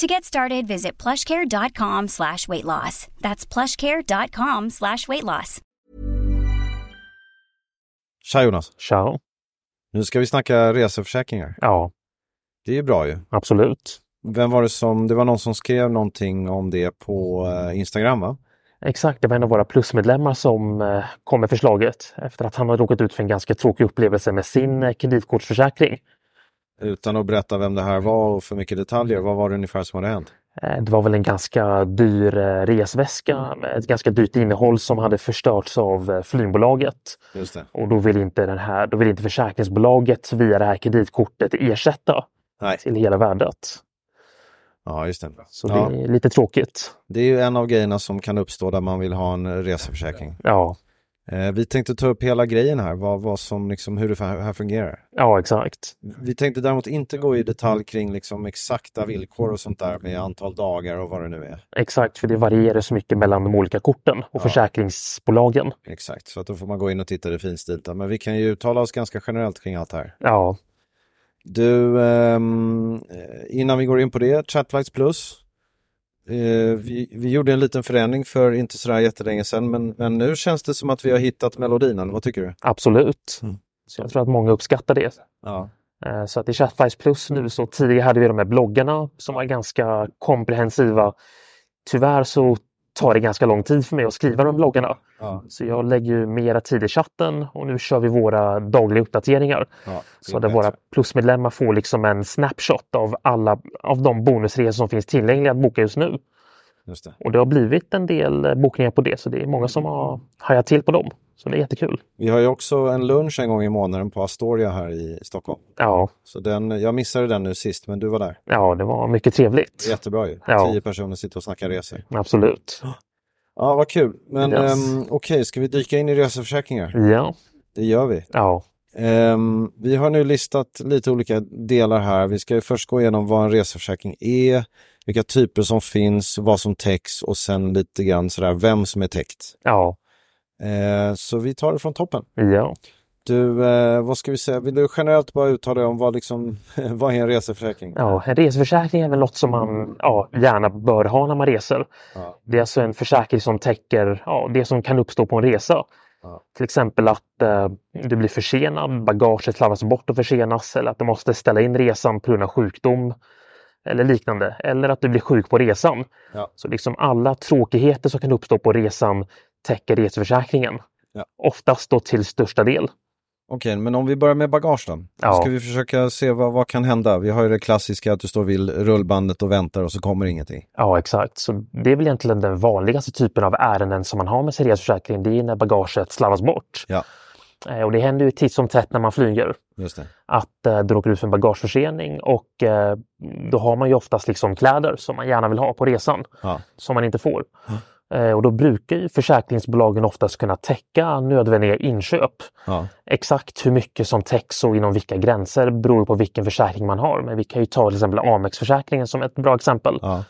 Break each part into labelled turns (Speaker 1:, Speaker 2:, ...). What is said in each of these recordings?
Speaker 1: To get started, visit plushcare.com slash weight loss. That's plushcare.com slash weight loss.
Speaker 2: Tja Jonas,
Speaker 3: Ciao.
Speaker 2: nu ska vi snacka reseförsäkringar.
Speaker 3: Ja,
Speaker 2: Det är ju bra ju.
Speaker 3: absolut.
Speaker 2: Vem var det som, det var någon som skrev någonting om det på eh, Instagram va?
Speaker 3: Exakt, det var en av våra plusmedlemmar som eh, kom med förslaget efter att han hade råkat ut för en ganska tråkig upplevelse med sin eh, kreditkortsförsäkring.
Speaker 2: Utan att berätta vem det här var och för mycket detaljer, vad var det ungefär som hade hänt?
Speaker 3: Eh, Det var väl en ganska dyr eh, resväska med ett ganska dyrt innehåll som hade förstörts av eh, flygbolaget.
Speaker 2: Just det.
Speaker 3: Och då vill inte, den här, då vill inte försäkringsbolaget via det här kreditkortet ersätta
Speaker 2: Nej.
Speaker 3: till hela värdet.
Speaker 2: Ja, just det.
Speaker 3: Så
Speaker 2: ja,
Speaker 3: det är lite tråkigt.
Speaker 2: det är ju en av grejerna som kan uppstå där man vill ha en reseförsäkring.
Speaker 3: Ja,
Speaker 2: Eh, vi tänkte ta upp hela grejen här, vad, vad som liksom, hur det fa- här fungerar.
Speaker 3: ja exakt.
Speaker 2: Vi tänkte däremot inte gå i detalj kring liksom exakta villkor och sånt där med antal dagar och vad det nu är.
Speaker 3: Exakt, för det varierar så mycket mellan de olika korten och
Speaker 2: Ja.
Speaker 3: försäkringsbolagen.
Speaker 2: Exakt, så att då får man gå in och titta i det finstilta. Men vi kan ju uttala oss ganska generellt kring allt det här.
Speaker 3: Ja,
Speaker 2: Du, ehm, innan vi går in på det, Chatflights Plus. Eh, vi, vi gjorde en liten förändring för inte sådär jättelänge sedan, men, men nu känns det som att vi har hittat melodin, eller vad tycker du?
Speaker 3: absolut.
Speaker 2: Mm.
Speaker 3: Så jag tror att många uppskattar det.
Speaker 2: Ja,
Speaker 3: Eh, Så att i Chatflies Plus nu så tidigare hade vi de här bloggarna som var ganska komprehensiva. Tyvärr så tar det ganska lång tid för mig att skriva de bloggarna.
Speaker 2: ja,
Speaker 3: Så jag lägger ju mera tid i chatten och nu kör vi våra dagliga uppdateringar.
Speaker 2: ja.
Speaker 3: Så där våra plusmedlemmar får liksom en snapshot av alla av de bonusresor som finns tillgängliga att boka just nu.
Speaker 2: Just det.
Speaker 3: Och det har blivit en del eh, bokningar på det, så det är många som har hajat till på dem. Så det är jättekul.
Speaker 2: Vi har ju också en lunch en gång i månaden på Astoria här i Stockholm.
Speaker 3: Ja,
Speaker 2: Så den, jag missade den nu sist, men du var där.
Speaker 3: ja det var mycket trevligt.
Speaker 2: Jättebra ju.
Speaker 3: Ja.
Speaker 2: Tio personer sitter och snackar resor.
Speaker 3: Absolut.
Speaker 2: Ja, vad kul. Men
Speaker 3: Yes.
Speaker 2: ehm, okej, ska vi dyka in i reseförsäkringar?
Speaker 3: Ja,
Speaker 2: Det gör vi.
Speaker 3: ja,
Speaker 2: Ehm, vi har nu listat lite olika delar här. Vi ska ju först gå igenom vad en reseförsäkring är, vilka typer som finns, vad som täcks och sen lite grann sådär vem som är täckt.
Speaker 3: ja,
Speaker 2: Ehm, så vi tar det från toppen.
Speaker 3: ja.
Speaker 2: Du, eh, vad ska vi säga? Vill du generellt bara uttala dig om vad, liksom, vad är en reseförsäkring?
Speaker 3: ja. En reseförsäkring är väl något som man ja, gärna bör ha när man reser.
Speaker 2: Ja.
Speaker 3: Det är alltså en försäkring som täcker ja, det som kan uppstå på en resa.
Speaker 2: Ja.
Speaker 3: Till exempel att eh, du blir försenad, bagaget slarvas bort och försenas eller att du måste ställa in resan på grund av sjukdom eller liknande. Eller att du blir sjuk på resan.
Speaker 2: Ja.
Speaker 3: Så liksom alla tråkigheter som kan uppstå på resan täcker reseförsäkringen.
Speaker 2: Ja.
Speaker 3: Oftast då till största del.
Speaker 2: Okej, men om vi börjar med bagage då.
Speaker 3: Ja.
Speaker 2: Ska vi försöka se vad, vad kan hända? Vi har ju det klassiska att du står vid rullbandet och väntar och så kommer ingenting.
Speaker 3: Ja, exakt. Så det är väl egentligen den vanligaste typen av ärenden som man har med sin reseförsäkring. Det är när bagaget slarvas bort.
Speaker 2: Ja.
Speaker 3: Eh, Och det händer ju titt som tätt när man flyger.
Speaker 2: Just det.
Speaker 3: att eh, du råkar ut för en bagageförsening och eh, då har man ju oftast liksom kläder som man gärna vill ha på resan
Speaker 2: Ja.
Speaker 3: som man inte får. Eh, och då brukar ju försäkringsbolagen oftast kunna täcka nödvändiga inköp.
Speaker 2: Ja.
Speaker 3: Exakt hur mycket som täcks och inom vilka gränser beror på vilken försäkring man har. Men vi kan ju ta till exempel Amex-försäkringen som ett bra exempel.
Speaker 2: Ja.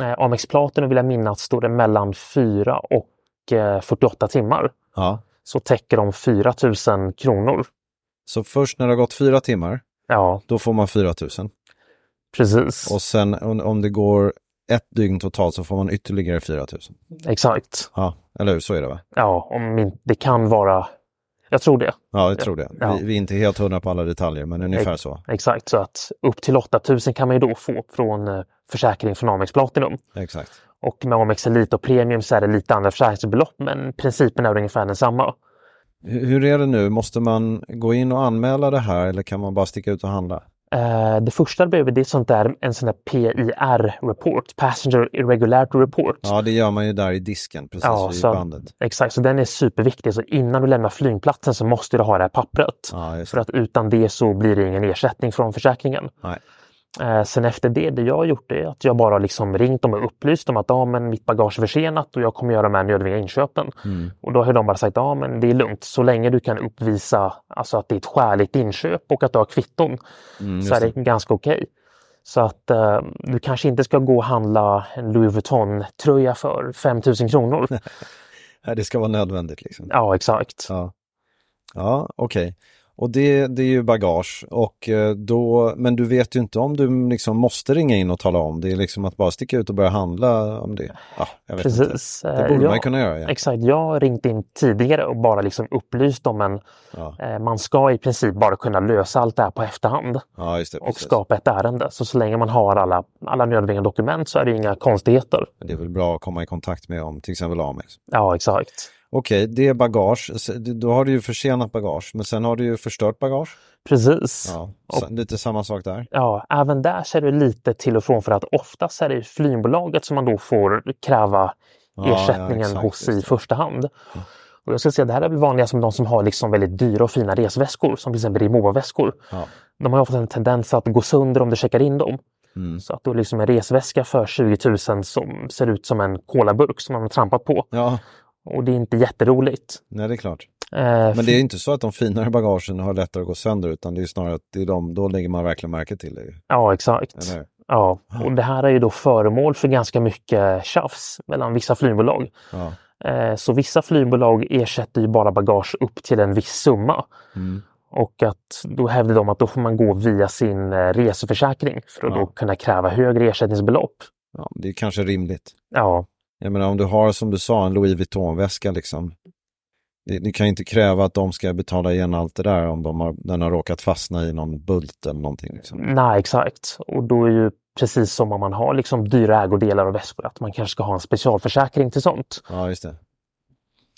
Speaker 3: Eh, Amex Platinum vill jag minnas stod det mellan 4 och eh, 48 timmar
Speaker 2: Ja.
Speaker 3: så täcker de 4 000 kronor.
Speaker 2: Så först när det har gått fyra timmar,
Speaker 3: Ja,
Speaker 2: då får man 4 000.
Speaker 3: precis.
Speaker 2: Och sen om om det går ett dygn totalt så får man ytterligare 4 000.
Speaker 3: Exakt.
Speaker 2: Ja, eller hur? Så är det va?
Speaker 3: Ja, om min, det kan vara... Jag tror det.
Speaker 2: Ja, jag tror det.
Speaker 3: Ja.
Speaker 2: Vi, vi är inte helt hundra på alla detaljer, men ungefär så.
Speaker 3: Exakt, så att upp till 8000 kan man ju då få från eh, försäkring från Amex Platinum.
Speaker 2: Exakt.
Speaker 3: Och med Amex Elite och Premium så är det lite andra försäkringsbelopp men principen är ungefär densamma.
Speaker 2: Hur hur är det nu? Måste man gå in och anmäla det här eller kan man bara sticka ut och handla?
Speaker 3: Eh, Det första brevet det är sånt där, en sån där PIR-report, Passenger Irregularity Report.
Speaker 2: Ja, det gör man ju där i disken, precis
Speaker 3: Ja,
Speaker 2: vid
Speaker 3: så-
Speaker 2: bandet.
Speaker 3: Exakt, så den är superviktig. Så innan du lämnar flygplatsen så måste du ha det här pappret.
Speaker 2: Ja, just
Speaker 3: För
Speaker 2: det.
Speaker 3: att utan det så blir det ingen ersättning från försäkringen.
Speaker 2: Nej.
Speaker 3: Eh, sen efter det, det jag har gjort är att jag bara liksom ringt dem och upplyst dem att ah, men mitt bagage är försenat och jag kommer göra de här nödvändiga inköpen.
Speaker 2: Mm.
Speaker 3: Och då har de bara sagt att ah, men det är lugnt, så länge du kan uppvisa alltså, att det är ett skäligt inköp och att du har kvitton
Speaker 2: Mm,
Speaker 3: så är det, ganska okej. Så att eh, du kanske inte ska gå och handla en Louis Vuitton-tröja för 5000 kronor.
Speaker 2: Nej, det ska vara nödvändigt liksom.
Speaker 3: ja, exakt.
Speaker 2: Ja, ja okej. Och det, det är ju bagage. Och eh, då, men du vet ju inte om du liksom måste ringa in och tala om. Det är liksom att bara sticka ut och börja handla om det. Ja, jag vet inte.
Speaker 3: Precis.
Speaker 2: Det
Speaker 3: Eh,
Speaker 2: borde man
Speaker 3: ja.
Speaker 2: ju kunna göra. Ja.
Speaker 3: Exakt, jag har ringt in tidigare och bara liksom upplyst om en...
Speaker 2: Ja.
Speaker 3: Eh, man ska i princip bara kunna lösa allt det här på efterhand
Speaker 2: ja, just det.
Speaker 3: och
Speaker 2: Precis.
Speaker 3: skapa ett ärende. Så så länge man har alla, alla nödvändiga dokument så är det inga konstigheter.
Speaker 2: Det är väl bra att komma i kontakt med om till exempel Amex.
Speaker 3: Ja, exakt.
Speaker 2: Okej, det är bagage. Så det- Då har du ju försenat bagage, men sen har du ju förstört bagage.
Speaker 3: Precis. Ja.
Speaker 2: Ja, så- lite samma sak där.
Speaker 3: även där så är det lite till och från för att oftast är det ju flygbolaget som man då får kräva
Speaker 2: Ja, ja,
Speaker 3: ersättningen
Speaker 2: exakt,
Speaker 3: hos
Speaker 2: just
Speaker 3: i
Speaker 2: det.
Speaker 3: första hand. Och jag skulle säga det här är väl vanligast som de som har liksom väldigt dyra och fina resväskor som till exempel Rimowa-väskor.
Speaker 2: Ja.
Speaker 3: De har ju ofta en tendens att gå sönder om du checkar in dem.
Speaker 2: Mm.
Speaker 3: Så att du har liksom en resväska för 20 000 som ser ut som en kolaburk som man har trampat på.
Speaker 2: Ja,
Speaker 3: Och det är inte jätteroligt.
Speaker 2: nej det är klart.
Speaker 3: Eh,
Speaker 2: Men det är ju inte så att de finare bagagen har lättare att gå sönder, utan det är ju snarare att det är de, då lägger man verkligen märke till det. ju,
Speaker 3: Ja, exakt.
Speaker 2: Eller hur?
Speaker 3: Ja. Och det här är ju då föremål för ganska mycket tjafs mellan vissa flygbolag.
Speaker 2: Ja.
Speaker 3: Eh, Så vissa flygbolag ersätter ju bara bagage upp till en viss summa.
Speaker 2: Mm.
Speaker 3: Och att då hävdar de att då får man gå via sin eh, reseförsäkring för att
Speaker 2: Ja.
Speaker 3: då kunna kräva högre ersättningsbelopp.
Speaker 2: Ja, det är kanske rimligt.
Speaker 3: Ja,
Speaker 2: Jag menar om du har som du sa en Louis Vuitton-väska liksom. det- Du kan ju inte kräva att de ska betala igen allt det där om de har, den har råkat fastna i någon bult eller någonting. Liksom.
Speaker 3: nej exakt. Och då är ju precis som om man har liksom dyra ägodelar och väskor att man kanske ska ha en specialförsäkring till sånt.
Speaker 2: Ja, just det.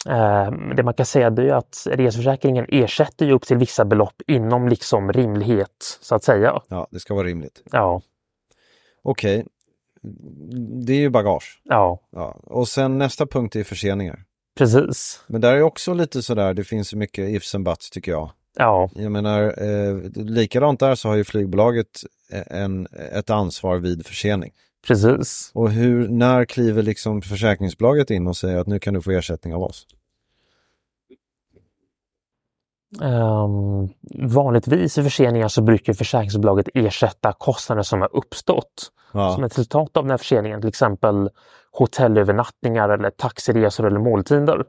Speaker 3: Eh, Det man kan säga det är ju att reseförsäkringen ersätter ju upp till vissa belopp inom liksom rimlighet så att säga.
Speaker 2: Ja, det ska vara rimligt.
Speaker 3: Ja,
Speaker 2: Okej, det är ju bagage.
Speaker 3: ja,
Speaker 2: Ja. Och sen nästa punkt är förseningar.
Speaker 3: precis.
Speaker 2: Men där är också lite sådär, det finns ju mycket ifs and buts tycker jag.
Speaker 3: Ja,
Speaker 2: Jag menar, eh, likadant där så har ju flygbolaget en, ett ansvar vid försening.
Speaker 3: precis.
Speaker 2: Och hur, när kliver liksom försäkringsbolaget in och säger att nu kan du få ersättning av oss?
Speaker 3: Ehm, vanligtvis i förseningar så brukar försäkringsbolaget ersätta kostnader som har uppstått
Speaker 2: Ja,
Speaker 3: som ett resultat av den här förseningen, till exempel hotellövernattningar eller taxiresor eller måltider.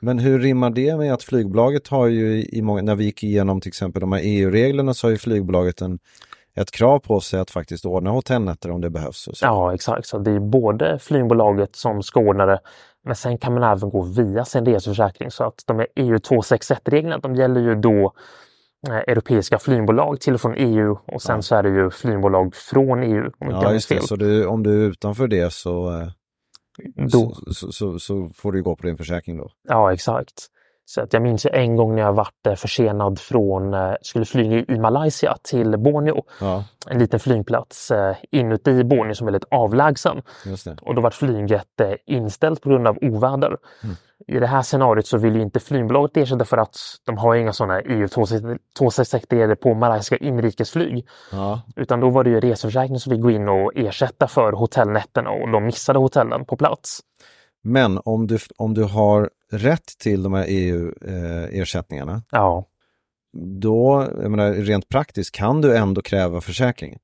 Speaker 2: men hur rimmar det med att flygbolaget har ju i många, när vi gick igenom till exempel de här EU-reglerna så har ju flygbolaget en, ett krav på sig att faktiskt ordna hotellnätter om det behövs. Och så.
Speaker 3: Ja, exakt. Så det är både flygbolaget som ska ordna det, men sen kan man även gå via sin reseförsäkring. Så att de här EU 261-reglerna, de gäller ju då eh, europeiska flygbolag till och från EU och sen
Speaker 2: Ja.
Speaker 3: så är det ju flygbolag från EU. Om inte jag
Speaker 2: Ja,
Speaker 3: minns
Speaker 2: just det.
Speaker 3: fel.
Speaker 2: Så du, om du är utanför det så, eh,
Speaker 3: Då,
Speaker 2: så, så, så, så får du gå på din försäkring då.
Speaker 3: Ja, exakt. Så att jag minns ju en gång när jag varit eh, försenad från, eh, skulle flyga i Malaysia till Borneo,
Speaker 2: Ja,
Speaker 3: en liten flygplats eh, inuti Borneo som är väldigt avlägsen.
Speaker 2: just det.
Speaker 3: Och då vart flyget eh, inställt på grund av oväder.
Speaker 2: Mm.
Speaker 3: I det här scenariot så vill ju inte flygbolaget ersätta för att de har ju inga E sådana EU 261 på malaysiska inrikesflyg.
Speaker 2: Ja,
Speaker 3: Utan då var det ju reseförsäkringen som fick gå in och ersätta för hotellnätterna och de missade hotellen på plats.
Speaker 2: Men om du, om du har rätt till de här E eh, EU-ersättningarna,
Speaker 3: Ja,
Speaker 2: då, jag menar, rent praktiskt, kan du ändå kräva försäkring.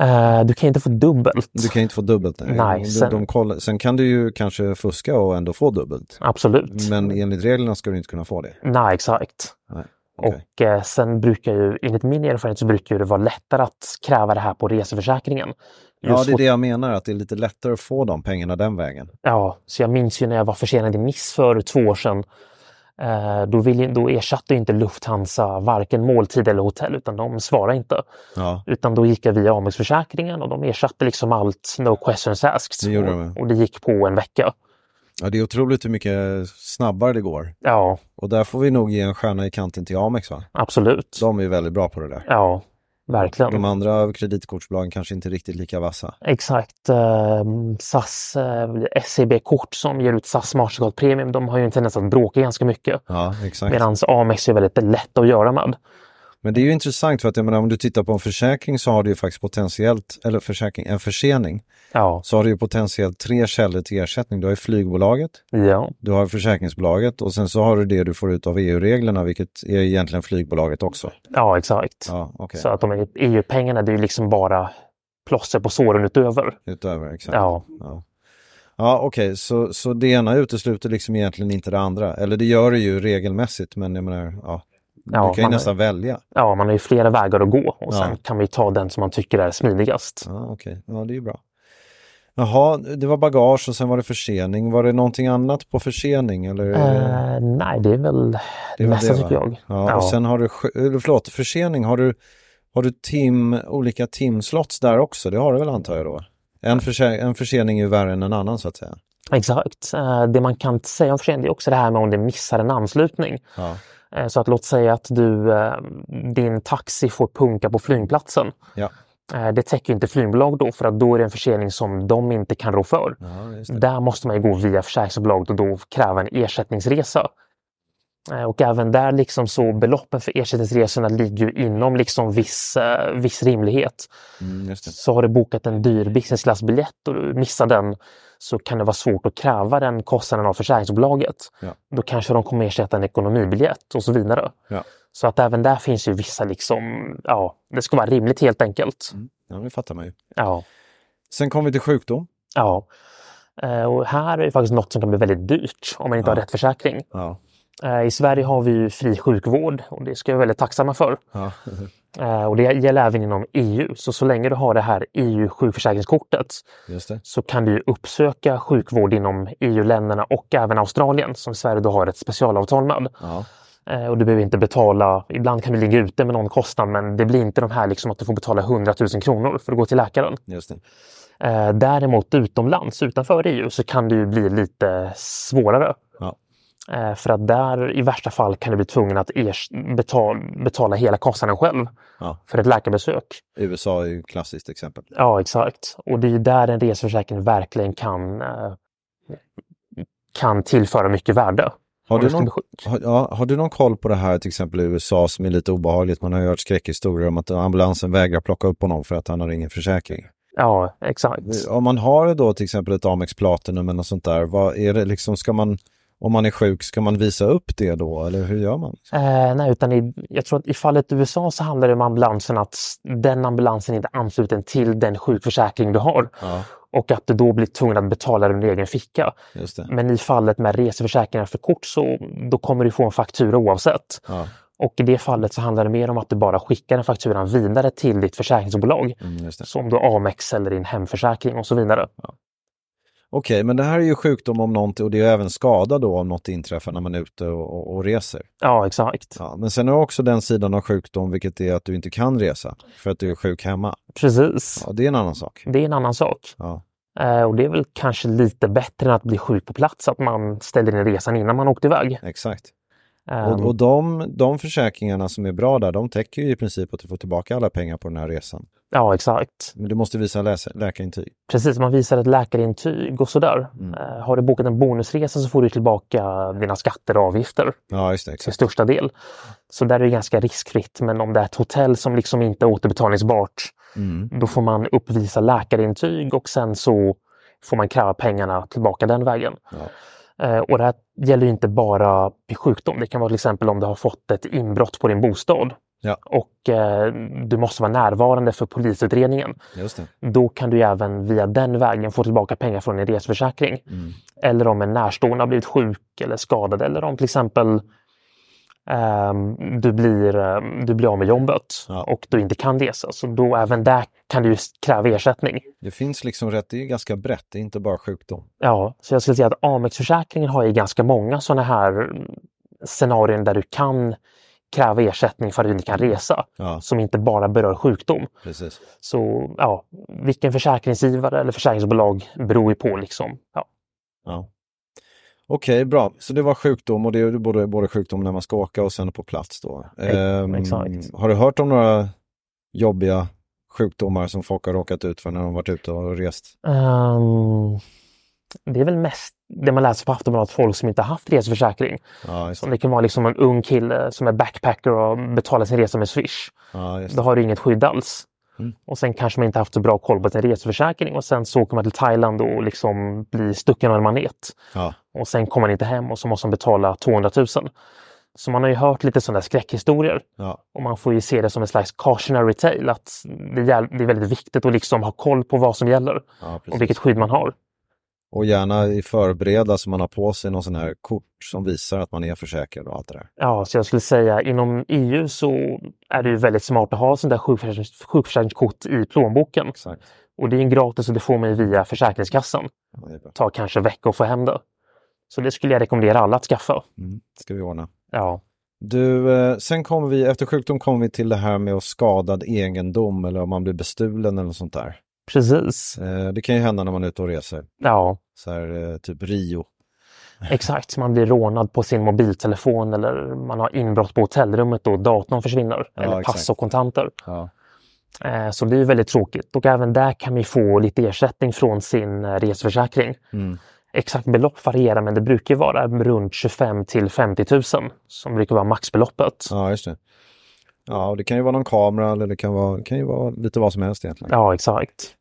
Speaker 3: Eh, du kan inte få dubbelt.
Speaker 2: Du kan inte få dubbelt. nej.
Speaker 3: Nej,
Speaker 2: De-
Speaker 3: sen-
Speaker 2: de kollar, sen kan du ju kanske fuska och ändå få dubbelt.
Speaker 3: Absolut.
Speaker 2: Men enligt reglerna ska du inte kunna få det.
Speaker 3: Nej, exakt.
Speaker 2: Nej, okej.
Speaker 3: Och eh, sen brukar ju, enligt min erfarenhet, så brukar ju det vara lättare att kräva det här på reseförsäkringen.
Speaker 2: Ja,
Speaker 3: Just
Speaker 2: det är
Speaker 3: mot-
Speaker 2: det jag menar, att det är lite lättare att få de pengarna den vägen.
Speaker 3: Ja, så jag minns ju när jag var försenad i Nice för två år sedan. Eh, då, ville, då ersatte ju inte Lufthansa varken måltid eller hotell, utan de svarade inte.
Speaker 2: Ja,
Speaker 3: Utan då gick jag via Amex-försäkringen och de ersatte liksom allt, no questions asked.
Speaker 2: Det gjorde de,
Speaker 3: och,
Speaker 2: ja.
Speaker 3: och det gick på en vecka.
Speaker 2: ja det är otroligt hur mycket snabbare det går.
Speaker 3: Ja,
Speaker 2: Och där får vi nog ge en stjärna i kanten till Amex, va?
Speaker 3: absolut.
Speaker 2: De är väldigt bra på det där.
Speaker 3: Ja, verkligen.
Speaker 2: De andra kreditkortsbolagen kanske inte riktigt lika vassa.
Speaker 3: Exakt. Eh, SAS eh, SEB-kort som ger ut SAS Mastercard Premium, de har ju en tendens att bråka ganska mycket.
Speaker 2: Ja, exakt.
Speaker 3: Medan Amex är väldigt lätt att göra med.
Speaker 2: Men det är ju intressant för att jag menar, om du tittar på en försäkring så har du ju faktiskt potentiellt, eller försäkring, en försening,
Speaker 3: Ja,
Speaker 2: så har du ju potentiellt tre källor till ersättning. Du har ju flygbolaget,
Speaker 3: ja,
Speaker 2: du har försäkringsbolaget och sen så har du det du får ut av EU-reglerna, vilket är egentligen flygbolaget också.
Speaker 3: ja exakt.
Speaker 2: Ja, okej.
Speaker 3: Så att de är- EU-pengarna, det är ju liksom bara plåster på såren utöver.
Speaker 2: Utöver, exakt.
Speaker 3: Ja,
Speaker 2: Ja, ja okej, så, så det ena utesluter liksom egentligen inte det andra. Eller det gör det ju regelmässigt, men jag menar, ja.
Speaker 3: Ja,
Speaker 2: du kan ju
Speaker 3: man-
Speaker 2: nästan välja.
Speaker 3: ja, man har ju flera vägar att gå och sen
Speaker 2: Ja.
Speaker 3: kan vi ta den som man tycker är smidigast.
Speaker 2: Ja, okej. Ja, det är ju bra. Jaha, det var bagage och sen var det försening. Var det någonting annat på försening? Eller?
Speaker 3: Eh, nej, det är väl det
Speaker 2: är väl
Speaker 3: mesta
Speaker 2: det,
Speaker 3: tycker
Speaker 2: va?
Speaker 3: jag.
Speaker 2: Ja, och sen har du, sj- eller förlåt, försening, har du, har du tim, olika timslots där också? Det har du väl antar jag då? En, förse, en försening är ju värre än en annan så att säga.
Speaker 3: Exakt. Eh, Det man kan säga om försening det är också det här med om det missar en anslutning.
Speaker 2: Ja,
Speaker 3: Eh, Så att låt säga att du, eh, din taxi får punka på flygplatsen.
Speaker 2: ja.
Speaker 3: Eh, Det täcker ju inte flygbolag då för att då är det en försening som de inte kan rå för.
Speaker 2: ja just det.
Speaker 3: Där måste man ju gå via försäkringsbolaget och då kräva en ersättningsresa. Eh, Och även där liksom så beloppen för ersättningsresorna ligger ju inom liksom viss, eh, viss rimlighet.
Speaker 2: Mm, just det.
Speaker 3: Så har du bokat en dyr business class-biljett och du missar den så kan det vara svårt att kräva den kostnaden av försäkringsbolaget.
Speaker 2: Ja.
Speaker 3: Då kanske de kommer ersätta en ekonomibiljett och så vidare.
Speaker 2: Ja.
Speaker 3: Så att även där finns ju vissa liksom, ja, det ska vara rimligt helt enkelt.
Speaker 2: ja, det fattar man ju.
Speaker 3: Ja,
Speaker 2: Sen kom vi till sjukdom.
Speaker 3: ja. Eh, Och här är ju faktiskt något som kan bli väldigt dyrt om man inte har rätt försäkring.
Speaker 2: Ja.
Speaker 3: Eh, I Sverige har vi ju fri sjukvård och det ska vi vara väldigt tacksamma för.
Speaker 2: Ja.
Speaker 3: Eh, Och det gäller även inom EU. Så så länge du har det här E EU-sjukförsäkringskortet
Speaker 2: Just det.
Speaker 3: så kan du ju uppsöka sjukvård inom EU-länderna och även Australien som Sverige då har ett specialavtal med.
Speaker 2: Ja.
Speaker 3: Eh, Och du behöver inte betala, ibland kan du ligga ute med någon kostnad men det blir inte de här liksom att du får betala 100 000 kronor för att gå till läkaren.
Speaker 2: Just det.
Speaker 3: Eh, Däremot utomlands, utanför EU, så kan det ju bli lite svårare.
Speaker 2: Ja.
Speaker 3: Eh, För att där i värsta fall kan du bli tvungen att ers- betala, betala hela kostnaden själv
Speaker 2: Ja.
Speaker 3: för ett läkarbesök.
Speaker 2: USA är ju ett klassiskt exempel.
Speaker 3: Ja, exakt. Och det är ju där en reseförsäkring verkligen kan, eh, kan tillföra mycket värde.
Speaker 2: Har
Speaker 3: Om
Speaker 2: du,
Speaker 3: ska
Speaker 2: någon,
Speaker 3: bli sjuk.
Speaker 2: har, ja, har du någon koll på det här till exempel i USA som är lite obehagligt? Man har ju hört skräckhistorier om att ambulansen vägrar plocka upp honom för att han har ingen försäkring.
Speaker 3: Ja, exakt.
Speaker 2: Om man har då till exempel ett Amex Platinum eller något sånt där, vad är det liksom, ska man, om man är sjuk, ska man visa upp det då eller hur gör man?
Speaker 3: Eh, nej, utan i, jag tror att i fallet USA så handlar det om ambulansen att s- den ambulansen inte är ansluten till den sjukförsäkring du har. Och att du då blir tvungen att betala din egen ficka.
Speaker 2: Just det.
Speaker 3: Men i fallet med reseförsäkringar för kort så då kommer du få en faktura oavsett.
Speaker 2: Ja,
Speaker 3: Och i det fallet så handlar det mer om att du bara skickar den fakturan vidare till ditt försäkringsbolag.
Speaker 2: mm, just det.
Speaker 3: Som då Amex eller din hemförsäkring och så vidare.
Speaker 2: Okej, men det här är ju sjukdom om någonting och det är även skada då om något inträffar när man är ute och, och, och reser.
Speaker 3: Ja, exakt.
Speaker 2: Ja, men sen är det också den sidan av sjukdom, vilket är att du inte kan resa för att du är sjuk hemma.
Speaker 3: Precis.
Speaker 2: Ja, det är en annan sak.
Speaker 3: Det är en annan sak.
Speaker 2: Ja,
Speaker 3: Eh, och det är väl kanske lite bättre än att bli sjuk på plats, att man ställer in resan innan man åkte iväg.
Speaker 2: exakt.
Speaker 3: Eh,
Speaker 2: Och, och de, de försäkringarna som är bra där, de täcker ju i princip att du får tillbaka alla pengar på den här resan.
Speaker 3: Ja, exakt.
Speaker 2: Men du måste visa läs- läkarintyg.
Speaker 3: Precis, man visar ett läkarintyg och sådär. Eh, har du bokat en bonusresa så får du tillbaka dina skatter och avgifter
Speaker 2: Ja, just det.
Speaker 3: till
Speaker 2: Exakt.
Speaker 3: största del. Så där är det ganska riskfritt. Men om det är ett hotell som liksom inte är återbetalningsbart,
Speaker 2: mm.
Speaker 3: då får man uppvisa läkarintyg och sen så får man kräva pengarna tillbaka den vägen. Eh, Och det här gäller ju inte bara vid sjukdom. Det kan vara till exempel om du har fått ett inbrott på din bostad.
Speaker 2: Ja.
Speaker 3: och eh, du måste vara närvarande för polisutredningen.
Speaker 2: Just det.
Speaker 3: Då kan du ju även via den vägen få tillbaka pengar från din resförsäkring.
Speaker 2: Mm.
Speaker 3: Eller om en närstående har blivit sjuk eller skadad eller om till exempel ehm, du, blir, eh, du blir av med jobbet
Speaker 2: Ja.
Speaker 3: och du inte kan resa. Så då även där kan du ju kräva ersättning.
Speaker 2: Det finns liksom rätt, det är ju ganska brett, det är inte bara sjukdom.
Speaker 3: Ja, så jag skulle säga att Amex-försäkringen har ju ganska många sådana här mm, scenarion där du kan kräva ersättning för att du inte kan resa,
Speaker 2: Ja,
Speaker 3: som inte bara berör sjukdom.
Speaker 2: precis.
Speaker 3: Så ja, vilken försäkringsgivare eller försäkringsbolag beror ju på liksom. Ja,
Speaker 2: Ja. Okej, bra. Så det var sjukdom och det är ju både, både sjukdom när man ska åka och sen på plats då. Ehm,
Speaker 3: exakt.
Speaker 2: Har du hört om några jobbiga sjukdomar som folk har råkat ut för när de varit ute och rest?
Speaker 3: Ehm, det är väl mest det man läser på Aftonbladet, folk som inte har haft resförsäkring.
Speaker 2: Ja, just
Speaker 3: Så
Speaker 2: det.
Speaker 3: det kan vara liksom en ung kille som är backpacker och betalar sin resa med Swish.
Speaker 2: Ja, just
Speaker 3: Då
Speaker 2: det.
Speaker 3: har du inget skydd alls.
Speaker 2: Mm.
Speaker 3: Och sen kanske man inte haft så bra koll på sin resförsäkring och sen så åker man till Thailand och liksom blir stucken av en manet.
Speaker 2: Ja,
Speaker 3: Och sen kommer man inte hem och så måste man betala 200 000. Så man har ju hört lite sådana skräckhistorier.
Speaker 2: ja,
Speaker 3: Och man får ju se det som en slags cautionary tale att det gäll- det är väldigt viktigt att liksom ha koll på vad som gäller
Speaker 2: ja
Speaker 3: och
Speaker 2: precis.
Speaker 3: vilket skydd man har.
Speaker 2: Och gärna i förbereda så man har på sig någon sån här kort som visar att man är försäkrad och allt det där.
Speaker 3: Ja, så jag skulle säga inom EU så är det ju väldigt smart att ha sånt där sjukförsäkrings- sjukförsäkringskort i plånboken.
Speaker 2: Exakt.
Speaker 3: Och det är ju gratis och det får man ju via Försäkringskassan.
Speaker 2: Ja, det är bra.
Speaker 3: tar kanske veckor att få hem det. Så det skulle jag rekommendera alla att skaffa.
Speaker 2: Mm. Ska vi ordna.
Speaker 3: Ja,
Speaker 2: Du, eh, sen kommer vi, efter sjukdom kommer vi till det här med att skadad egendom eller om man blir bestulen eller något sånt där.
Speaker 3: precis.
Speaker 2: Eh, Det kan ju hända när man är ute och reser.
Speaker 3: Ja,
Speaker 2: Så här, eh, typ Rio.
Speaker 3: exakt. Man blir rånad på sin mobiltelefon eller man har inbrott på hotellrummet och datorn försvinner.
Speaker 2: Ja,
Speaker 3: eller
Speaker 2: exakt.
Speaker 3: pass och kontanter.
Speaker 2: Ja.
Speaker 3: Eh, Så det är ju väldigt tråkigt och även där kan vi få lite ersättning från sin eh, resförsäkring.
Speaker 2: Mm.
Speaker 3: Exakt belopp varierar men det brukar vara runt 25 000 till 50 000 som brukar vara maxbeloppet.
Speaker 2: ja, just det. Ja, och det kan ju vara någon kamera eller det kan, vara, kan ju vara lite vad som helst egentligen.
Speaker 3: Ja, exakt.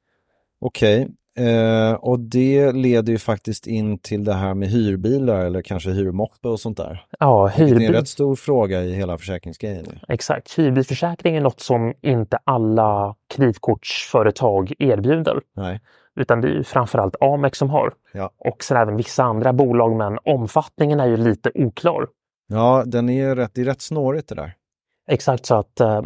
Speaker 2: Okej, eh, och det leder ju faktiskt in till det här med hyrbilar eller kanske hyrmoppe och sånt där.
Speaker 3: Ja,
Speaker 2: Det är en
Speaker 3: hyrbil.
Speaker 2: rätt stor fråga i hela försäkringsgrejen. ju.
Speaker 3: Exakt. Hyrbilsförsäkring är något som inte alla kreditkortsföretag erbjuder.
Speaker 2: Nej,
Speaker 3: Utan det är ju framförallt Amex som har.
Speaker 2: ja.
Speaker 3: Och sen även vissa andra bolag, men omfattningen är ju lite oklar.
Speaker 2: Ja, den är ju rätt, det är rätt snårigt det där.
Speaker 3: Exakt så att eh,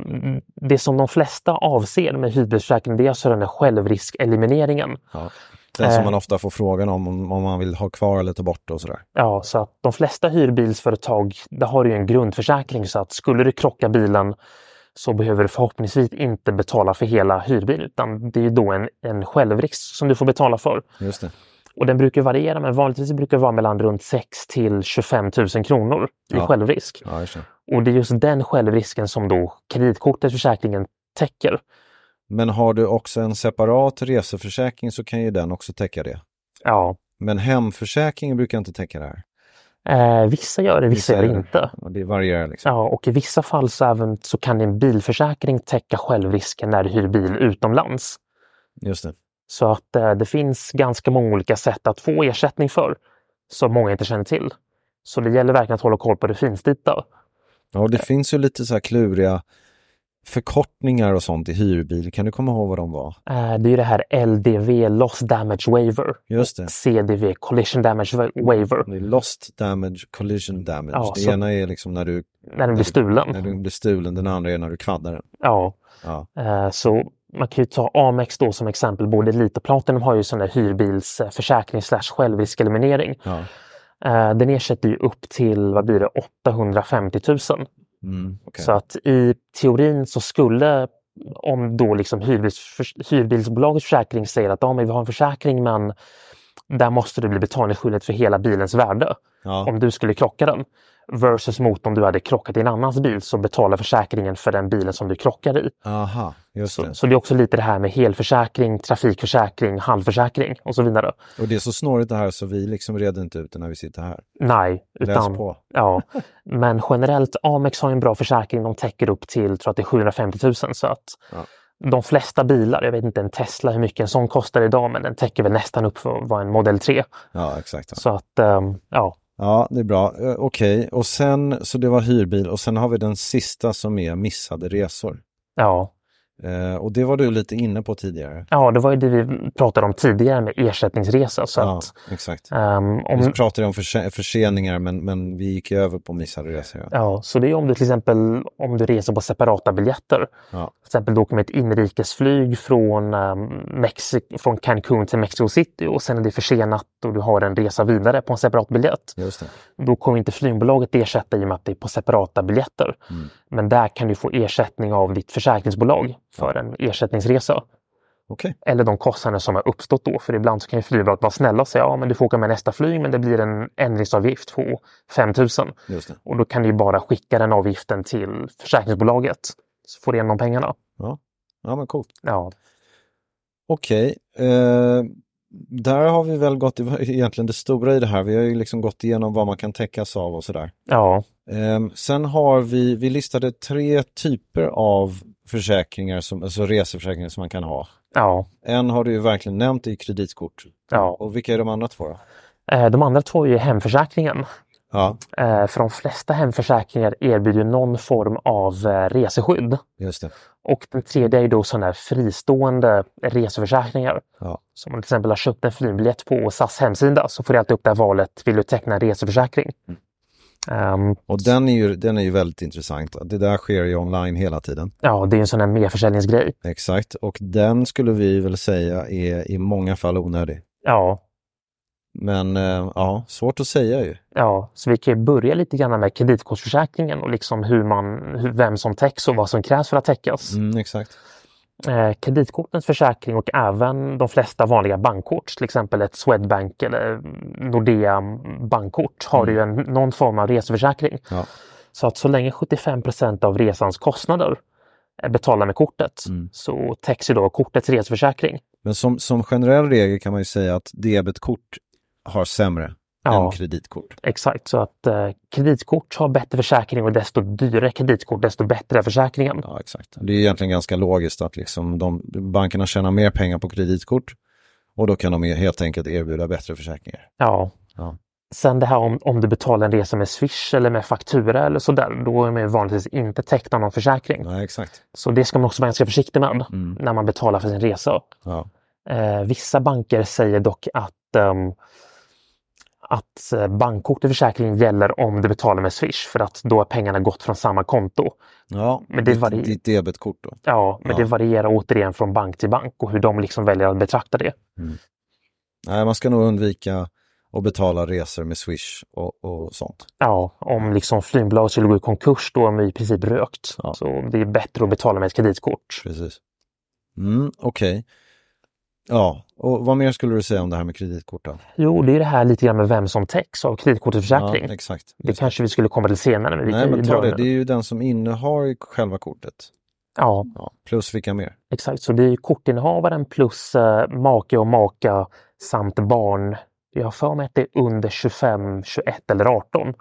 Speaker 3: det som de flesta avser med hyrbilsförsäkring det är alltså den där självriskelimineringen.
Speaker 2: Ja. Den som
Speaker 3: Eh.
Speaker 2: man ofta får frågan om, om, om man vill ha kvar eller ta bort och sådär.
Speaker 3: Ja, så att de flesta hyrbilsföretag där har du ju en grundförsäkring så att skulle du krocka bilen så behöver du förhoppningsvis inte betala för hela hyrbilen utan det är ju då en, en självrisk som du får betala för.
Speaker 2: Just det.
Speaker 3: Och den brukar variera men vanligtvis brukar det vara mellan runt 6 till 25 000 kronor i
Speaker 2: Ja.
Speaker 3: självrisk.
Speaker 2: Ja, just det.
Speaker 3: Och det är just den självrisken som då kreditkortet, försäkringen täcker.
Speaker 2: Men har du också en separat reseförsäkring så kan ju den också täcka det.
Speaker 3: Ja,
Speaker 2: Men hemförsäkringen brukar inte täcka det här.
Speaker 3: eh, vissa gör det, vissa gör det inte.
Speaker 2: Och det varierar liksom.
Speaker 3: Ja, och i vissa fall så, även, så kan din bilförsäkring täcka självrisken när du hyr bil utomlands.
Speaker 2: Just det.
Speaker 3: Så att eh, det finns ganska många olika sätt att få ersättning för som många inte känner till. Så det gäller verkligen att hålla koll på det finstilta.
Speaker 2: Ja, och det finns ju lite så här kluriga förkortningar och sånt i hyrbil. Kan du komma ihåg vad de var?
Speaker 3: Eh, det är ju det här LDV, Loss Damage Waiver.
Speaker 2: Just det.
Speaker 3: CDV, Collision Damage Wa- Waiver,
Speaker 2: Det är lost damage, collision damage.
Speaker 3: Ja,
Speaker 2: det
Speaker 3: så-
Speaker 2: ena är liksom när du,
Speaker 3: när den blir stulen.
Speaker 2: när du blir stulen, den andra är när du kvaddar den.
Speaker 3: Ja,
Speaker 2: Ja,
Speaker 3: eh, så man kan ju ta Amex då som exempel. Både Elite och Platinum har ju sån där hyrbilsförsäkring slash självriskeliminering.
Speaker 2: ja.
Speaker 3: Eh, Den ersätter ju upp till, vad blir det, 850 000.
Speaker 2: Mm, okej.
Speaker 3: Så att i teorin så skulle, om då liksom hyrbils, förs- hyrbilsbolagets försäkring säger att ja, men vi har en försäkring men där måste du bli betalningsskyldig för hela bilens värde.
Speaker 2: ja.
Speaker 3: om du skulle krocka den. Versus mot om du hade krockat i en annans bil så betalar försäkringen för den bilen som du krockade i.
Speaker 2: Aha, just det.
Speaker 3: Så det är också lite det här med helförsäkring, trafikförsäkring, halvförsäkring och så vidare.
Speaker 2: Och det är så snårigt det här så vi liksom reder inte ut det när vi sitter här.
Speaker 3: Nej,
Speaker 2: Läs
Speaker 3: utan...
Speaker 2: på.
Speaker 3: Ja, men generellt Amex har ju en bra försäkring. De täcker upp till, tror att det är 750 000 så att
Speaker 2: Ja.
Speaker 3: de flesta bilar, jag vet inte en Tesla hur mycket en sån kostar idag, men den täcker väl nästan upp för vad en Model 3.
Speaker 2: Ja, exakt.
Speaker 3: Så att, ehm, ja,
Speaker 2: Ja, det är bra. Eh, Okej, och sen så det var hyrbil och sen har vi den sista som är missade resor.
Speaker 3: Ja.
Speaker 2: Eh, och det var du lite inne på tidigare.
Speaker 3: ja, det var ju det vi pratade om tidigare med ersättningsresa. Så
Speaker 2: Ja,
Speaker 3: att,
Speaker 2: exakt.
Speaker 3: ehm, om,
Speaker 2: Vi pratade om förse- förseningar men, men vi gick ju över på missade resor. Ja.
Speaker 3: Ja, så det är om du till exempel om du reser på separata biljetter.
Speaker 2: Ja.
Speaker 3: Till exempel du åker med ett inrikesflyg från, um, Mexi- från Cancun till Mexico City och sen är det försenat och du har en resa vidare på en separat biljett.
Speaker 2: Just det.
Speaker 3: Då kommer inte flygbolaget ersätta i och med att det är på separata biljetter. Men där kan du få ersättning av ditt försäkringsbolag för en ersättningsresa.
Speaker 2: Okej.
Speaker 3: Eller de kostnader som har uppstått då. För ibland så kan ju flygbolaget vara snälla och säga ja, men du får åka med nästa flyg men det blir en ändringsavgift på 5 000.
Speaker 2: Just det.
Speaker 3: Och då kan du ju bara skicka den avgiften till försäkringsbolaget. Så får du igen de pengarna.
Speaker 2: Ja, men coolt.
Speaker 3: Ja,
Speaker 2: Okej. Eh, där har vi väl gått, det var egentligen det stora i det här. Vi har ju liksom gått igenom vad man kan täckas av och sådär.
Speaker 3: ja,
Speaker 2: Ehm, sen har vi, vi listade tre typer av försäkringar, som, alltså reseförsäkringar som man kan ha.
Speaker 3: ja.
Speaker 2: En har du ju verkligen nämnt, det är ju kreditkort.
Speaker 3: ja.
Speaker 2: Och vilka är de andra två då?
Speaker 3: Eh, De andra två är ju hemförsäkringen.
Speaker 2: Ja,
Speaker 3: Eh, För de flesta hemförsäkringar erbjuder ju någon form av eh, reseskydd.
Speaker 2: just det.
Speaker 3: Och den tredje är ju då sådana här fristående reseförsäkringar.
Speaker 2: Ja.
Speaker 3: Så om du till exempel har köpt en flygbiljett på SAS hemsida så får du alltid upp det här valet, vill du teckna en reseförsäkring?
Speaker 2: Mm.
Speaker 3: Ehm,
Speaker 2: Och den är, ju, den är ju väldigt intressant. Det där sker ju online hela tiden.
Speaker 3: ja, det är ju en sån här merförsäljningsgrej.
Speaker 2: Exakt, och den skulle vi väl säga är i många fall onödig.
Speaker 3: Ja,
Speaker 2: Men eh, ja, svårt att säga ju.
Speaker 3: Ja, så vi kan ju börja lite grann med kreditkortsförsäkringen och liksom hur man, hur, vem som täcks och vad som krävs för att täckas.
Speaker 2: Mm, exakt.
Speaker 3: Eh, kreditkortens försäkring och även de flesta vanliga bankkort, till exempel ett Swedbank eller Nordea bankkort, har ju en, någon form av reseförsäkring.
Speaker 2: Mm. Ja.
Speaker 3: Så att så länge 75 av resans kostnader är betalda med kortet
Speaker 2: Mm.
Speaker 3: så täcks ju då kortets reseförsäkring.
Speaker 2: Men som, som generell regel kan man ju säga att debetkort har sämre
Speaker 3: Ja.
Speaker 2: än kreditkort.
Speaker 3: Exakt, så att eh, kreditkort har bättre försäkring och desto dyrare kreditkort, desto bättre är försäkringen.
Speaker 2: Ja, exakt. Det är egentligen ganska logiskt att liksom de, bankerna tjänar mer pengar på kreditkort och då kan de ju helt enkelt erbjuda bättre försäkringar.
Speaker 3: Ja.
Speaker 2: Ja.
Speaker 3: Sen det här om, om du betalar en resa med Swish eller med faktura eller sådär, då är man ju vanligtvis inte täckt av någon försäkring.
Speaker 2: Ja, exakt.
Speaker 3: Så det ska man också vara ganska försiktig med när man betalar för sin resa.
Speaker 2: Mm. Ja.
Speaker 3: Eh, vissa banker säger dock att, ehm, att eh, bankkort i försäkringen gäller om du betalar med Swish för att då har pengarna gått från samma konto.
Speaker 2: Ja,
Speaker 3: Men det
Speaker 2: ditt-
Speaker 3: varierar.
Speaker 2: ditt debetkort då.
Speaker 3: Ja, men
Speaker 2: Ja.
Speaker 3: det varierar återigen från bank till bank och hur de liksom väljer att betrakta det.
Speaker 2: Nej, man ska nog undvika att betala resor med Swish och, och sånt.
Speaker 3: Ja, om liksom flygbolaget skulle gå i konkurs då är man i princip rökt.
Speaker 2: Ja.
Speaker 3: Så det är bättre att betala med ett kreditkort.
Speaker 2: Precis. Mm, Okej. Ja, och vad mer skulle du säga om det här med kreditkort då?
Speaker 3: Jo, det är det här lite grann med vem som täcks av kreditkortets försäkring.
Speaker 2: Ja, exakt.
Speaker 3: det kanske vi skulle komma till senare. Men vi
Speaker 2: Nej,
Speaker 3: kan ju
Speaker 2: men ta
Speaker 3: dra
Speaker 2: det.
Speaker 3: den.
Speaker 2: Det är ju den som innehar själva kortet.
Speaker 3: Ja,
Speaker 2: Ja. Plus vilka mer?
Speaker 3: exakt. Så det är ju kortinnehavaren plus eh, make och maka samt barn. Jag har för mig att det är under 25, 21 eller 18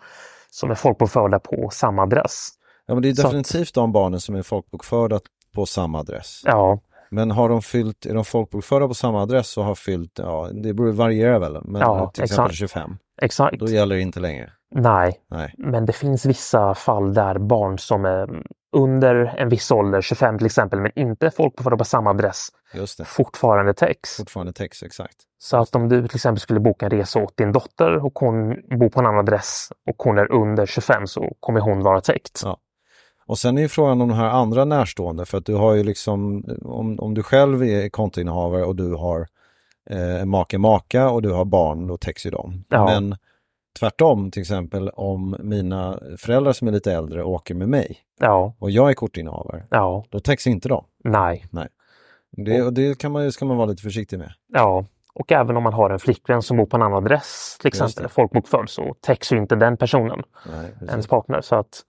Speaker 3: som är folkbokförda på samma adress.
Speaker 2: Ja, men det är
Speaker 3: Så-
Speaker 2: definitivt de barnen som är folkbokförda på samma adress.
Speaker 3: Ja,
Speaker 2: Men har de fyllt, är de folkbokförda på samma adress och har fyllt, ja, det beror, varierar väl, men
Speaker 3: Ja,
Speaker 2: till exempel
Speaker 3: exakt.
Speaker 2: 25,
Speaker 3: exakt.
Speaker 2: då gäller det inte längre.
Speaker 3: Nej,
Speaker 2: Nej,
Speaker 3: Men det finns vissa fall där barn som är under en viss ålder, 25 till exempel, men inte folkbokförda på samma adress,
Speaker 2: just det.
Speaker 3: fortfarande täcks.
Speaker 2: Fortfarande text, exakt.
Speaker 3: Så att om du till exempel skulle boka en resa åt din dotter och hon bor på en annan adress och hon är under 25 så kommer hon vara täckt.
Speaker 2: Ja. Och sen är ju frågan om de här andra närstående, för att du har ju liksom, om, om du själv är kontoinnehavare och du har eh, en make maka och du har barn, då täcks ju de.
Speaker 3: Ja.
Speaker 2: Men tvärtom, till exempel om mina föräldrar som är lite äldre åker med mig
Speaker 3: Ja,
Speaker 2: och jag är kortinnehavare,
Speaker 3: ja,
Speaker 2: då täcks inte de.
Speaker 3: nej,
Speaker 2: Det, och det kan man, ju- ska man vara lite försiktig med.
Speaker 3: ja. Och även om man har en flickvän som bor på en annan adress, till
Speaker 2: Just
Speaker 3: exempel
Speaker 2: det.
Speaker 3: folkbokförd, så täcks ju inte den personen,
Speaker 2: Nej, precis.
Speaker 3: ens partner. Så att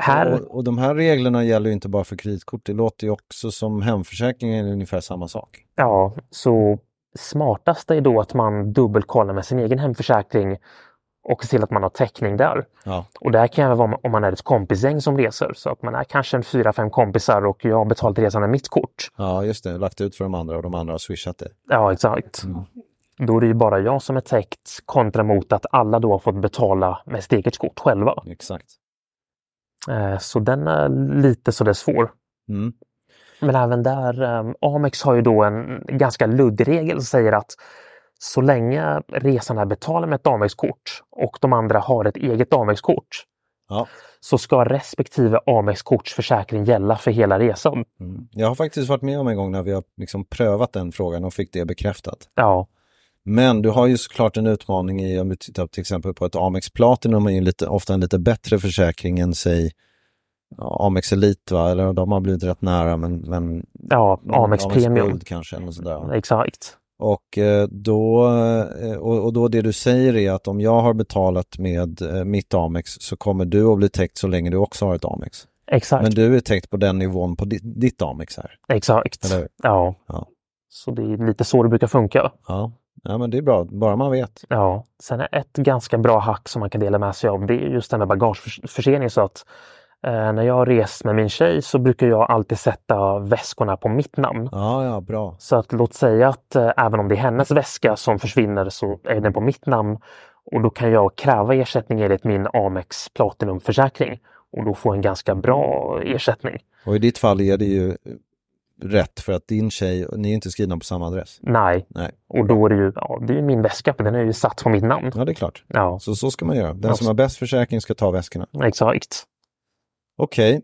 Speaker 3: här,
Speaker 2: Eh, Och, och de här reglerna gäller ju inte bara för kreditkort, det låter ju också som hemförsäkringen är ungefär samma sak.
Speaker 3: Ja, så smartast är då att man dubbelkollar med sin egen hemförsäkring och ser till att man har täckning där.
Speaker 2: Ja,
Speaker 3: Och det här kan även vara om man är ett kompisgäng som reser, så att man är kanske en fyra, fem kompisar och jag har betalat resan med mitt kort.
Speaker 2: ja just det, lagt ut för de andra och de andra har swishat det.
Speaker 3: Ja, exakt. Då är det ju bara jag som är täckt kontra mot att alla då har fått betala med sitt eget kort själva.
Speaker 2: Exakt.
Speaker 3: Eh, Så den är lite sådär svår.
Speaker 2: Mm.
Speaker 3: Men även där, eh, Amex har ju då en ganska luddig regel som säger att så länge resan är betalad med ett Amex-kort och de andra har ett eget Amex-kort
Speaker 2: Ja.
Speaker 3: så ska respektive Amex-kortsförsäkring gälla för hela resan.
Speaker 2: Mm. Jag har faktiskt varit med om en gång när vi har liksom prövat den frågan och fick det bekräftat.
Speaker 3: Ja,
Speaker 2: Men du har ju såklart en utmaning i om du tittar till exempel på ett Amex Platinum är ju lite, ofta en lite bättre försäkring än säg ja, Amex Elite, va? eller de har blivit rätt nära men, men
Speaker 3: ja
Speaker 2: Mm,
Speaker 3: Amex Premium.
Speaker 2: Guld kanske. Eller sådär.
Speaker 3: Exakt.
Speaker 2: Och, eh, då, eh, och, och då det du säger är att om jag har betalat med eh, mitt Amex så kommer du att bli täckt så länge du också har ett Amex.
Speaker 3: Exakt.
Speaker 2: Men du är täckt på den nivån på ditt, ditt Amex här.
Speaker 3: Exakt.
Speaker 2: Eller hur?
Speaker 3: Ja.
Speaker 2: Ja.
Speaker 3: Så det är lite så det brukar funka.
Speaker 2: Ja. ja, men det är bra, bara man vet.
Speaker 3: Ja. Sen är ett ganska bra hack som man kan dela med sig av det är just det här med bagageförsening. Så att eh, när jag har rest med min tjej så brukar jag alltid sätta väskorna på mitt namn.
Speaker 2: Ja, ja, bra.
Speaker 3: Så att låt säga att eh, även om det är hennes väska som försvinner så är den på mitt namn och då kan jag kräva ersättning enligt min Amex Platinumförsäkring och då få en ganska bra ersättning.
Speaker 2: Och i ditt fall är det ju eh, rätt för att din tjej, ni är inte skrivna på samma adress.
Speaker 3: Nej,
Speaker 2: Nej,
Speaker 3: och då är det ju ja, det är ju min väska, men den är ju satt på mitt namn.
Speaker 2: ja det är klart.
Speaker 3: Ja,
Speaker 2: Så så ska man göra. Den
Speaker 3: Ja,
Speaker 2: som
Speaker 3: så-
Speaker 2: har bäst försäkring ska ta väskorna.
Speaker 3: exakt.
Speaker 2: Okej,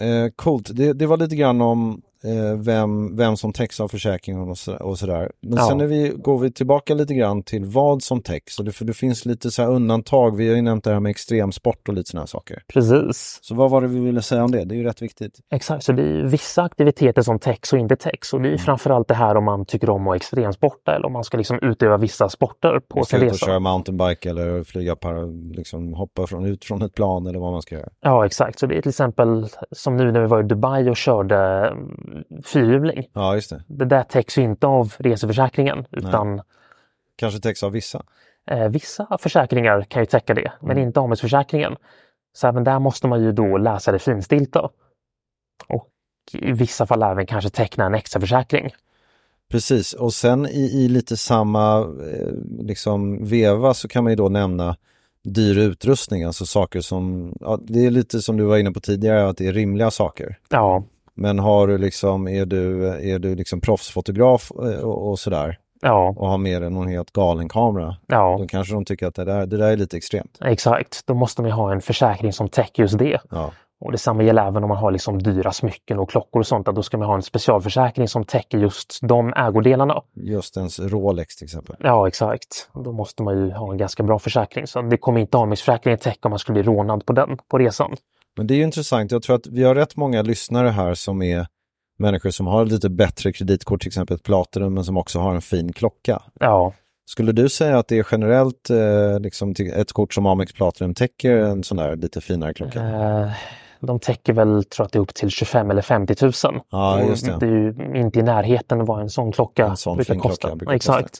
Speaker 2: eh, coolt. Det, det var lite grann om eh, vem, vem som täcks av försäkringen och, så, och sådär. Men
Speaker 3: Ja.
Speaker 2: sen när vi, går vi tillbaka lite grann till vad som täcks. Och det, för det finns lite så här undantag. Vi har ju nämnt det här med extremsport och lite sådana saker.
Speaker 3: Precis.
Speaker 2: Så vad var det vi ville säga om det? Det är ju rätt viktigt.
Speaker 3: Exakt, så det är ju vissa aktiviteter som täcks och inte täcks. Och det är ju
Speaker 2: Mm.
Speaker 3: framförallt det här om man tycker om att extremsporta eller om man ska liksom utöva vissa sporter på sin
Speaker 2: Ska ut och
Speaker 3: resa.
Speaker 2: köra mountainbike eller flyga, para, liksom hoppa från, ut från ett plan eller vad man ska göra.
Speaker 3: Ja, exakt. Så det är till exempel som nu när vi var i Dubai och körde mm, fyrhjuling.
Speaker 2: Ja, just det.
Speaker 3: Det där täcks ju inte av reseförsäkringen utan
Speaker 2: Kanske täcks av vissa.
Speaker 3: eh, vissa försäkringar kan ju täcka det, men
Speaker 2: Mm.
Speaker 3: inte AMS-försäkringen. Så även där måste man ju då läsa det finstilta. Och i vissa fall även kanske teckna en extra försäkring.
Speaker 2: Precis, och sen i, i lite samma eh, liksom veva så kan man ju då nämna dyr utrustning, alltså saker som, ja, det är lite som du var inne på tidigare, att det är rimliga saker.
Speaker 3: Ja,
Speaker 2: Men har du liksom, är du, är du liksom proffsfotograf eh, och, och sådär
Speaker 3: ja,
Speaker 2: och har med dig någon helt galen kamera,
Speaker 3: ja.
Speaker 2: då kanske de tycker att det där, det där är lite extremt.
Speaker 3: Exakt, då måste man ju ha en försäkring som täcker just det.
Speaker 2: Ja,
Speaker 3: Och detsamma gäller även om man har liksom dyra smycken och klockor och sånt. Att då ska man ha en specialförsäkring som täcker just de ägodelarna.
Speaker 2: just ens Rolex till exempel.
Speaker 3: Ja, exakt. Då måste man ju ha en ganska bra försäkring. Så det kommer inte AMX-försäkringen täcka om man skulle bli rånad på den på resan.
Speaker 2: Men det är ju intressant. Jag tror att vi har rätt många lyssnare här som är människor som har lite bättre kreditkort, till exempel ett Platinum, men som också har en fin klocka.
Speaker 3: Ja,
Speaker 2: Skulle du säga att det är generellt eh, liksom till- ett kort som Amex Platinum täcker en sån där lite finare klocka?
Speaker 3: eh, de täcker väl tror jag att det är upp till 25 eller 50 000.
Speaker 2: Ja,
Speaker 3: Och
Speaker 2: just det.
Speaker 3: det är ju inte i närheten av vad en sån klocka
Speaker 2: En sån
Speaker 3: brukar
Speaker 2: fin
Speaker 3: kosta.
Speaker 2: klocka brukar kosta.
Speaker 3: exakt.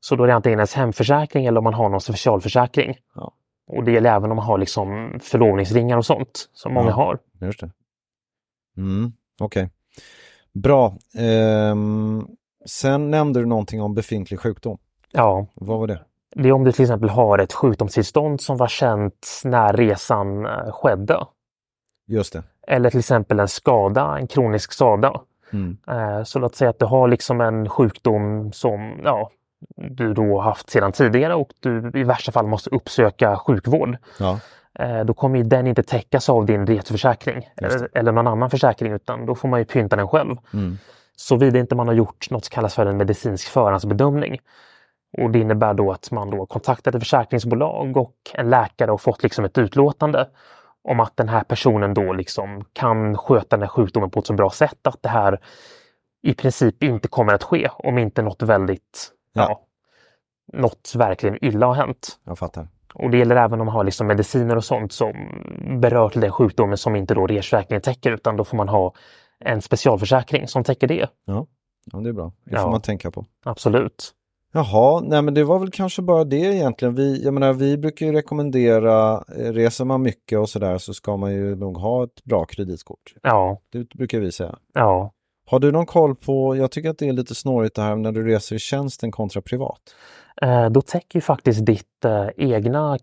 Speaker 3: Så då är det antingen ens hemförsäkring eller om man har någon specialförsäkring.
Speaker 2: Ja.
Speaker 3: Och det gäller även om man har liksom förlovningsringar och sånt som många
Speaker 2: Ja.
Speaker 3: har.
Speaker 2: Just det. Mm, Okej. Bra. Ehm, sen nämnde du någonting om befintlig sjukdom.
Speaker 3: Ja,
Speaker 2: Vad var det?
Speaker 3: det är om du till exempel har ett sjukdomstillstånd som var känt när resan eh, skedde.
Speaker 2: Just det.
Speaker 3: Eller till exempel en skada, en kronisk skada.
Speaker 2: Mm.
Speaker 3: Eh, Så låt säga att du har liksom en sjukdom som ja, du då haft sedan tidigare och du i värsta fall måste uppsöka sjukvård.
Speaker 2: Ja,
Speaker 3: Eh, Då kommer ju den inte täckas av din reseförsäkring eller, eller någon annan försäkring utan då får man ju pynta den själv.
Speaker 2: Mm.
Speaker 3: Såvida inte man har gjort något som kallas för en medicinsk förhandsbedömning. Och det innebär då att man då kontaktat ett försäkringsbolag och en läkare och fått liksom ett utlåtande om att den här personen då liksom kan sköta den här sjukdomen på ett så bra sätt att det här i princip inte kommer att ske om inte något väldigt, ja.
Speaker 2: Ja.
Speaker 3: något verkligen illa har hänt.
Speaker 2: jag fattar.
Speaker 3: Och det gäller även om man har liksom mediciner och sånt som berör till den sjukdomen som inte då resförsäkringen täcker utan då får man ha en specialförsäkring som täcker det.
Speaker 2: Ja, ja det är bra. Det får
Speaker 3: Ja.
Speaker 2: man tänka på.
Speaker 3: Absolut.
Speaker 2: Jaha, nej men det var väl kanske bara det egentligen. Vi, jag menar, vi brukar ju rekommendera, eh, reser man mycket och sådär så ska man ju nog ha ett bra kreditkort.
Speaker 3: Ja,
Speaker 2: Det brukar vi säga.
Speaker 3: ja,
Speaker 2: Har du någon koll på, jag tycker att det är lite snårigt det här när du reser i tjänsten kontra privat.
Speaker 3: Eh, Då täcker ju faktiskt ditt eh, egna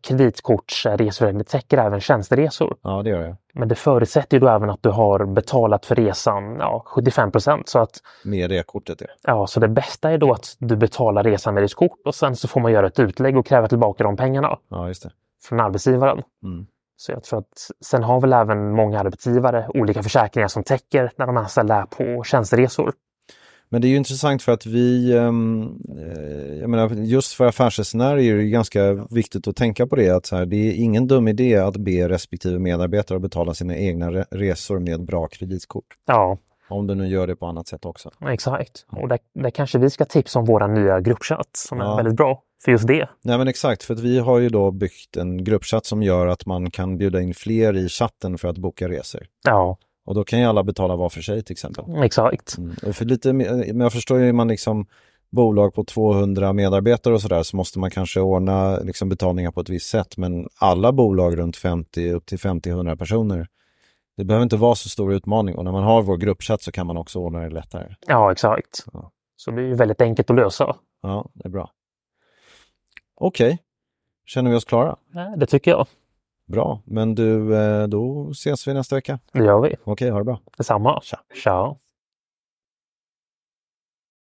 Speaker 3: kreditkortsreseförsäkring, det täcker även tjänsteresor.
Speaker 2: Ja, det gör jag.
Speaker 3: Men det förutsätter ju då även att du har betalat för resan ja, 75 procent. Så, att,
Speaker 2: Med det kortet, ja.
Speaker 3: ja, så det bästa är då att du betalar resan med ditt kort och sen så får man göra ett utlägg och kräva tillbaka de pengarna
Speaker 2: Ja, just det.
Speaker 3: från arbetsgivaren.
Speaker 2: Mm.
Speaker 3: Så jag tror att sen har väl även många arbetsgivare olika försäkringar som täcker när de anställda är på tjänsteresor.
Speaker 2: Men det är ju intressant för att vi, ehm, eh, jag menar, just för affärsresenärer är det ju ganska viktigt att tänka på det, att så här, det är ingen dum idé att be respektive medarbetare att betala sina egna re- resor med bra kreditkort.
Speaker 3: Ja,
Speaker 2: Om du nu gör det på annat sätt också.
Speaker 3: exakt. Och där, där kanske vi ska tipsa om våra nya gruppchatt som
Speaker 2: Ja.
Speaker 3: är väldigt bra för just det.
Speaker 2: Nej men exakt, för att vi har ju då byggt en gruppchatt som gör att man kan bjuda in fler i chatten för att boka resor.
Speaker 3: Ja,
Speaker 2: Och då kan ju alla betala var för sig till exempel.
Speaker 3: exakt.
Speaker 2: Mm. Och för lite, mer- men jag förstår ju är man liksom bolag på 200 medarbetare och sådär så måste man kanske ordna liksom betalningar på ett visst sätt. Men alla bolag runt 50, upp till 50-100 personer, det behöver inte vara så stor utmaning. Och när man har vår gruppchatt så kan man också ordna det lättare.
Speaker 3: Ja, exakt.
Speaker 2: Ja.
Speaker 3: Så det är ju väldigt enkelt att lösa.
Speaker 2: Ja, det är bra. Okej, känner vi oss klara?
Speaker 3: Ja, Det tycker jag.
Speaker 2: Bra, men du, eh, då ses vi nästa vecka.
Speaker 3: Det gör vi.
Speaker 2: Okej, ha det bra.
Speaker 3: Detsamma. Tja.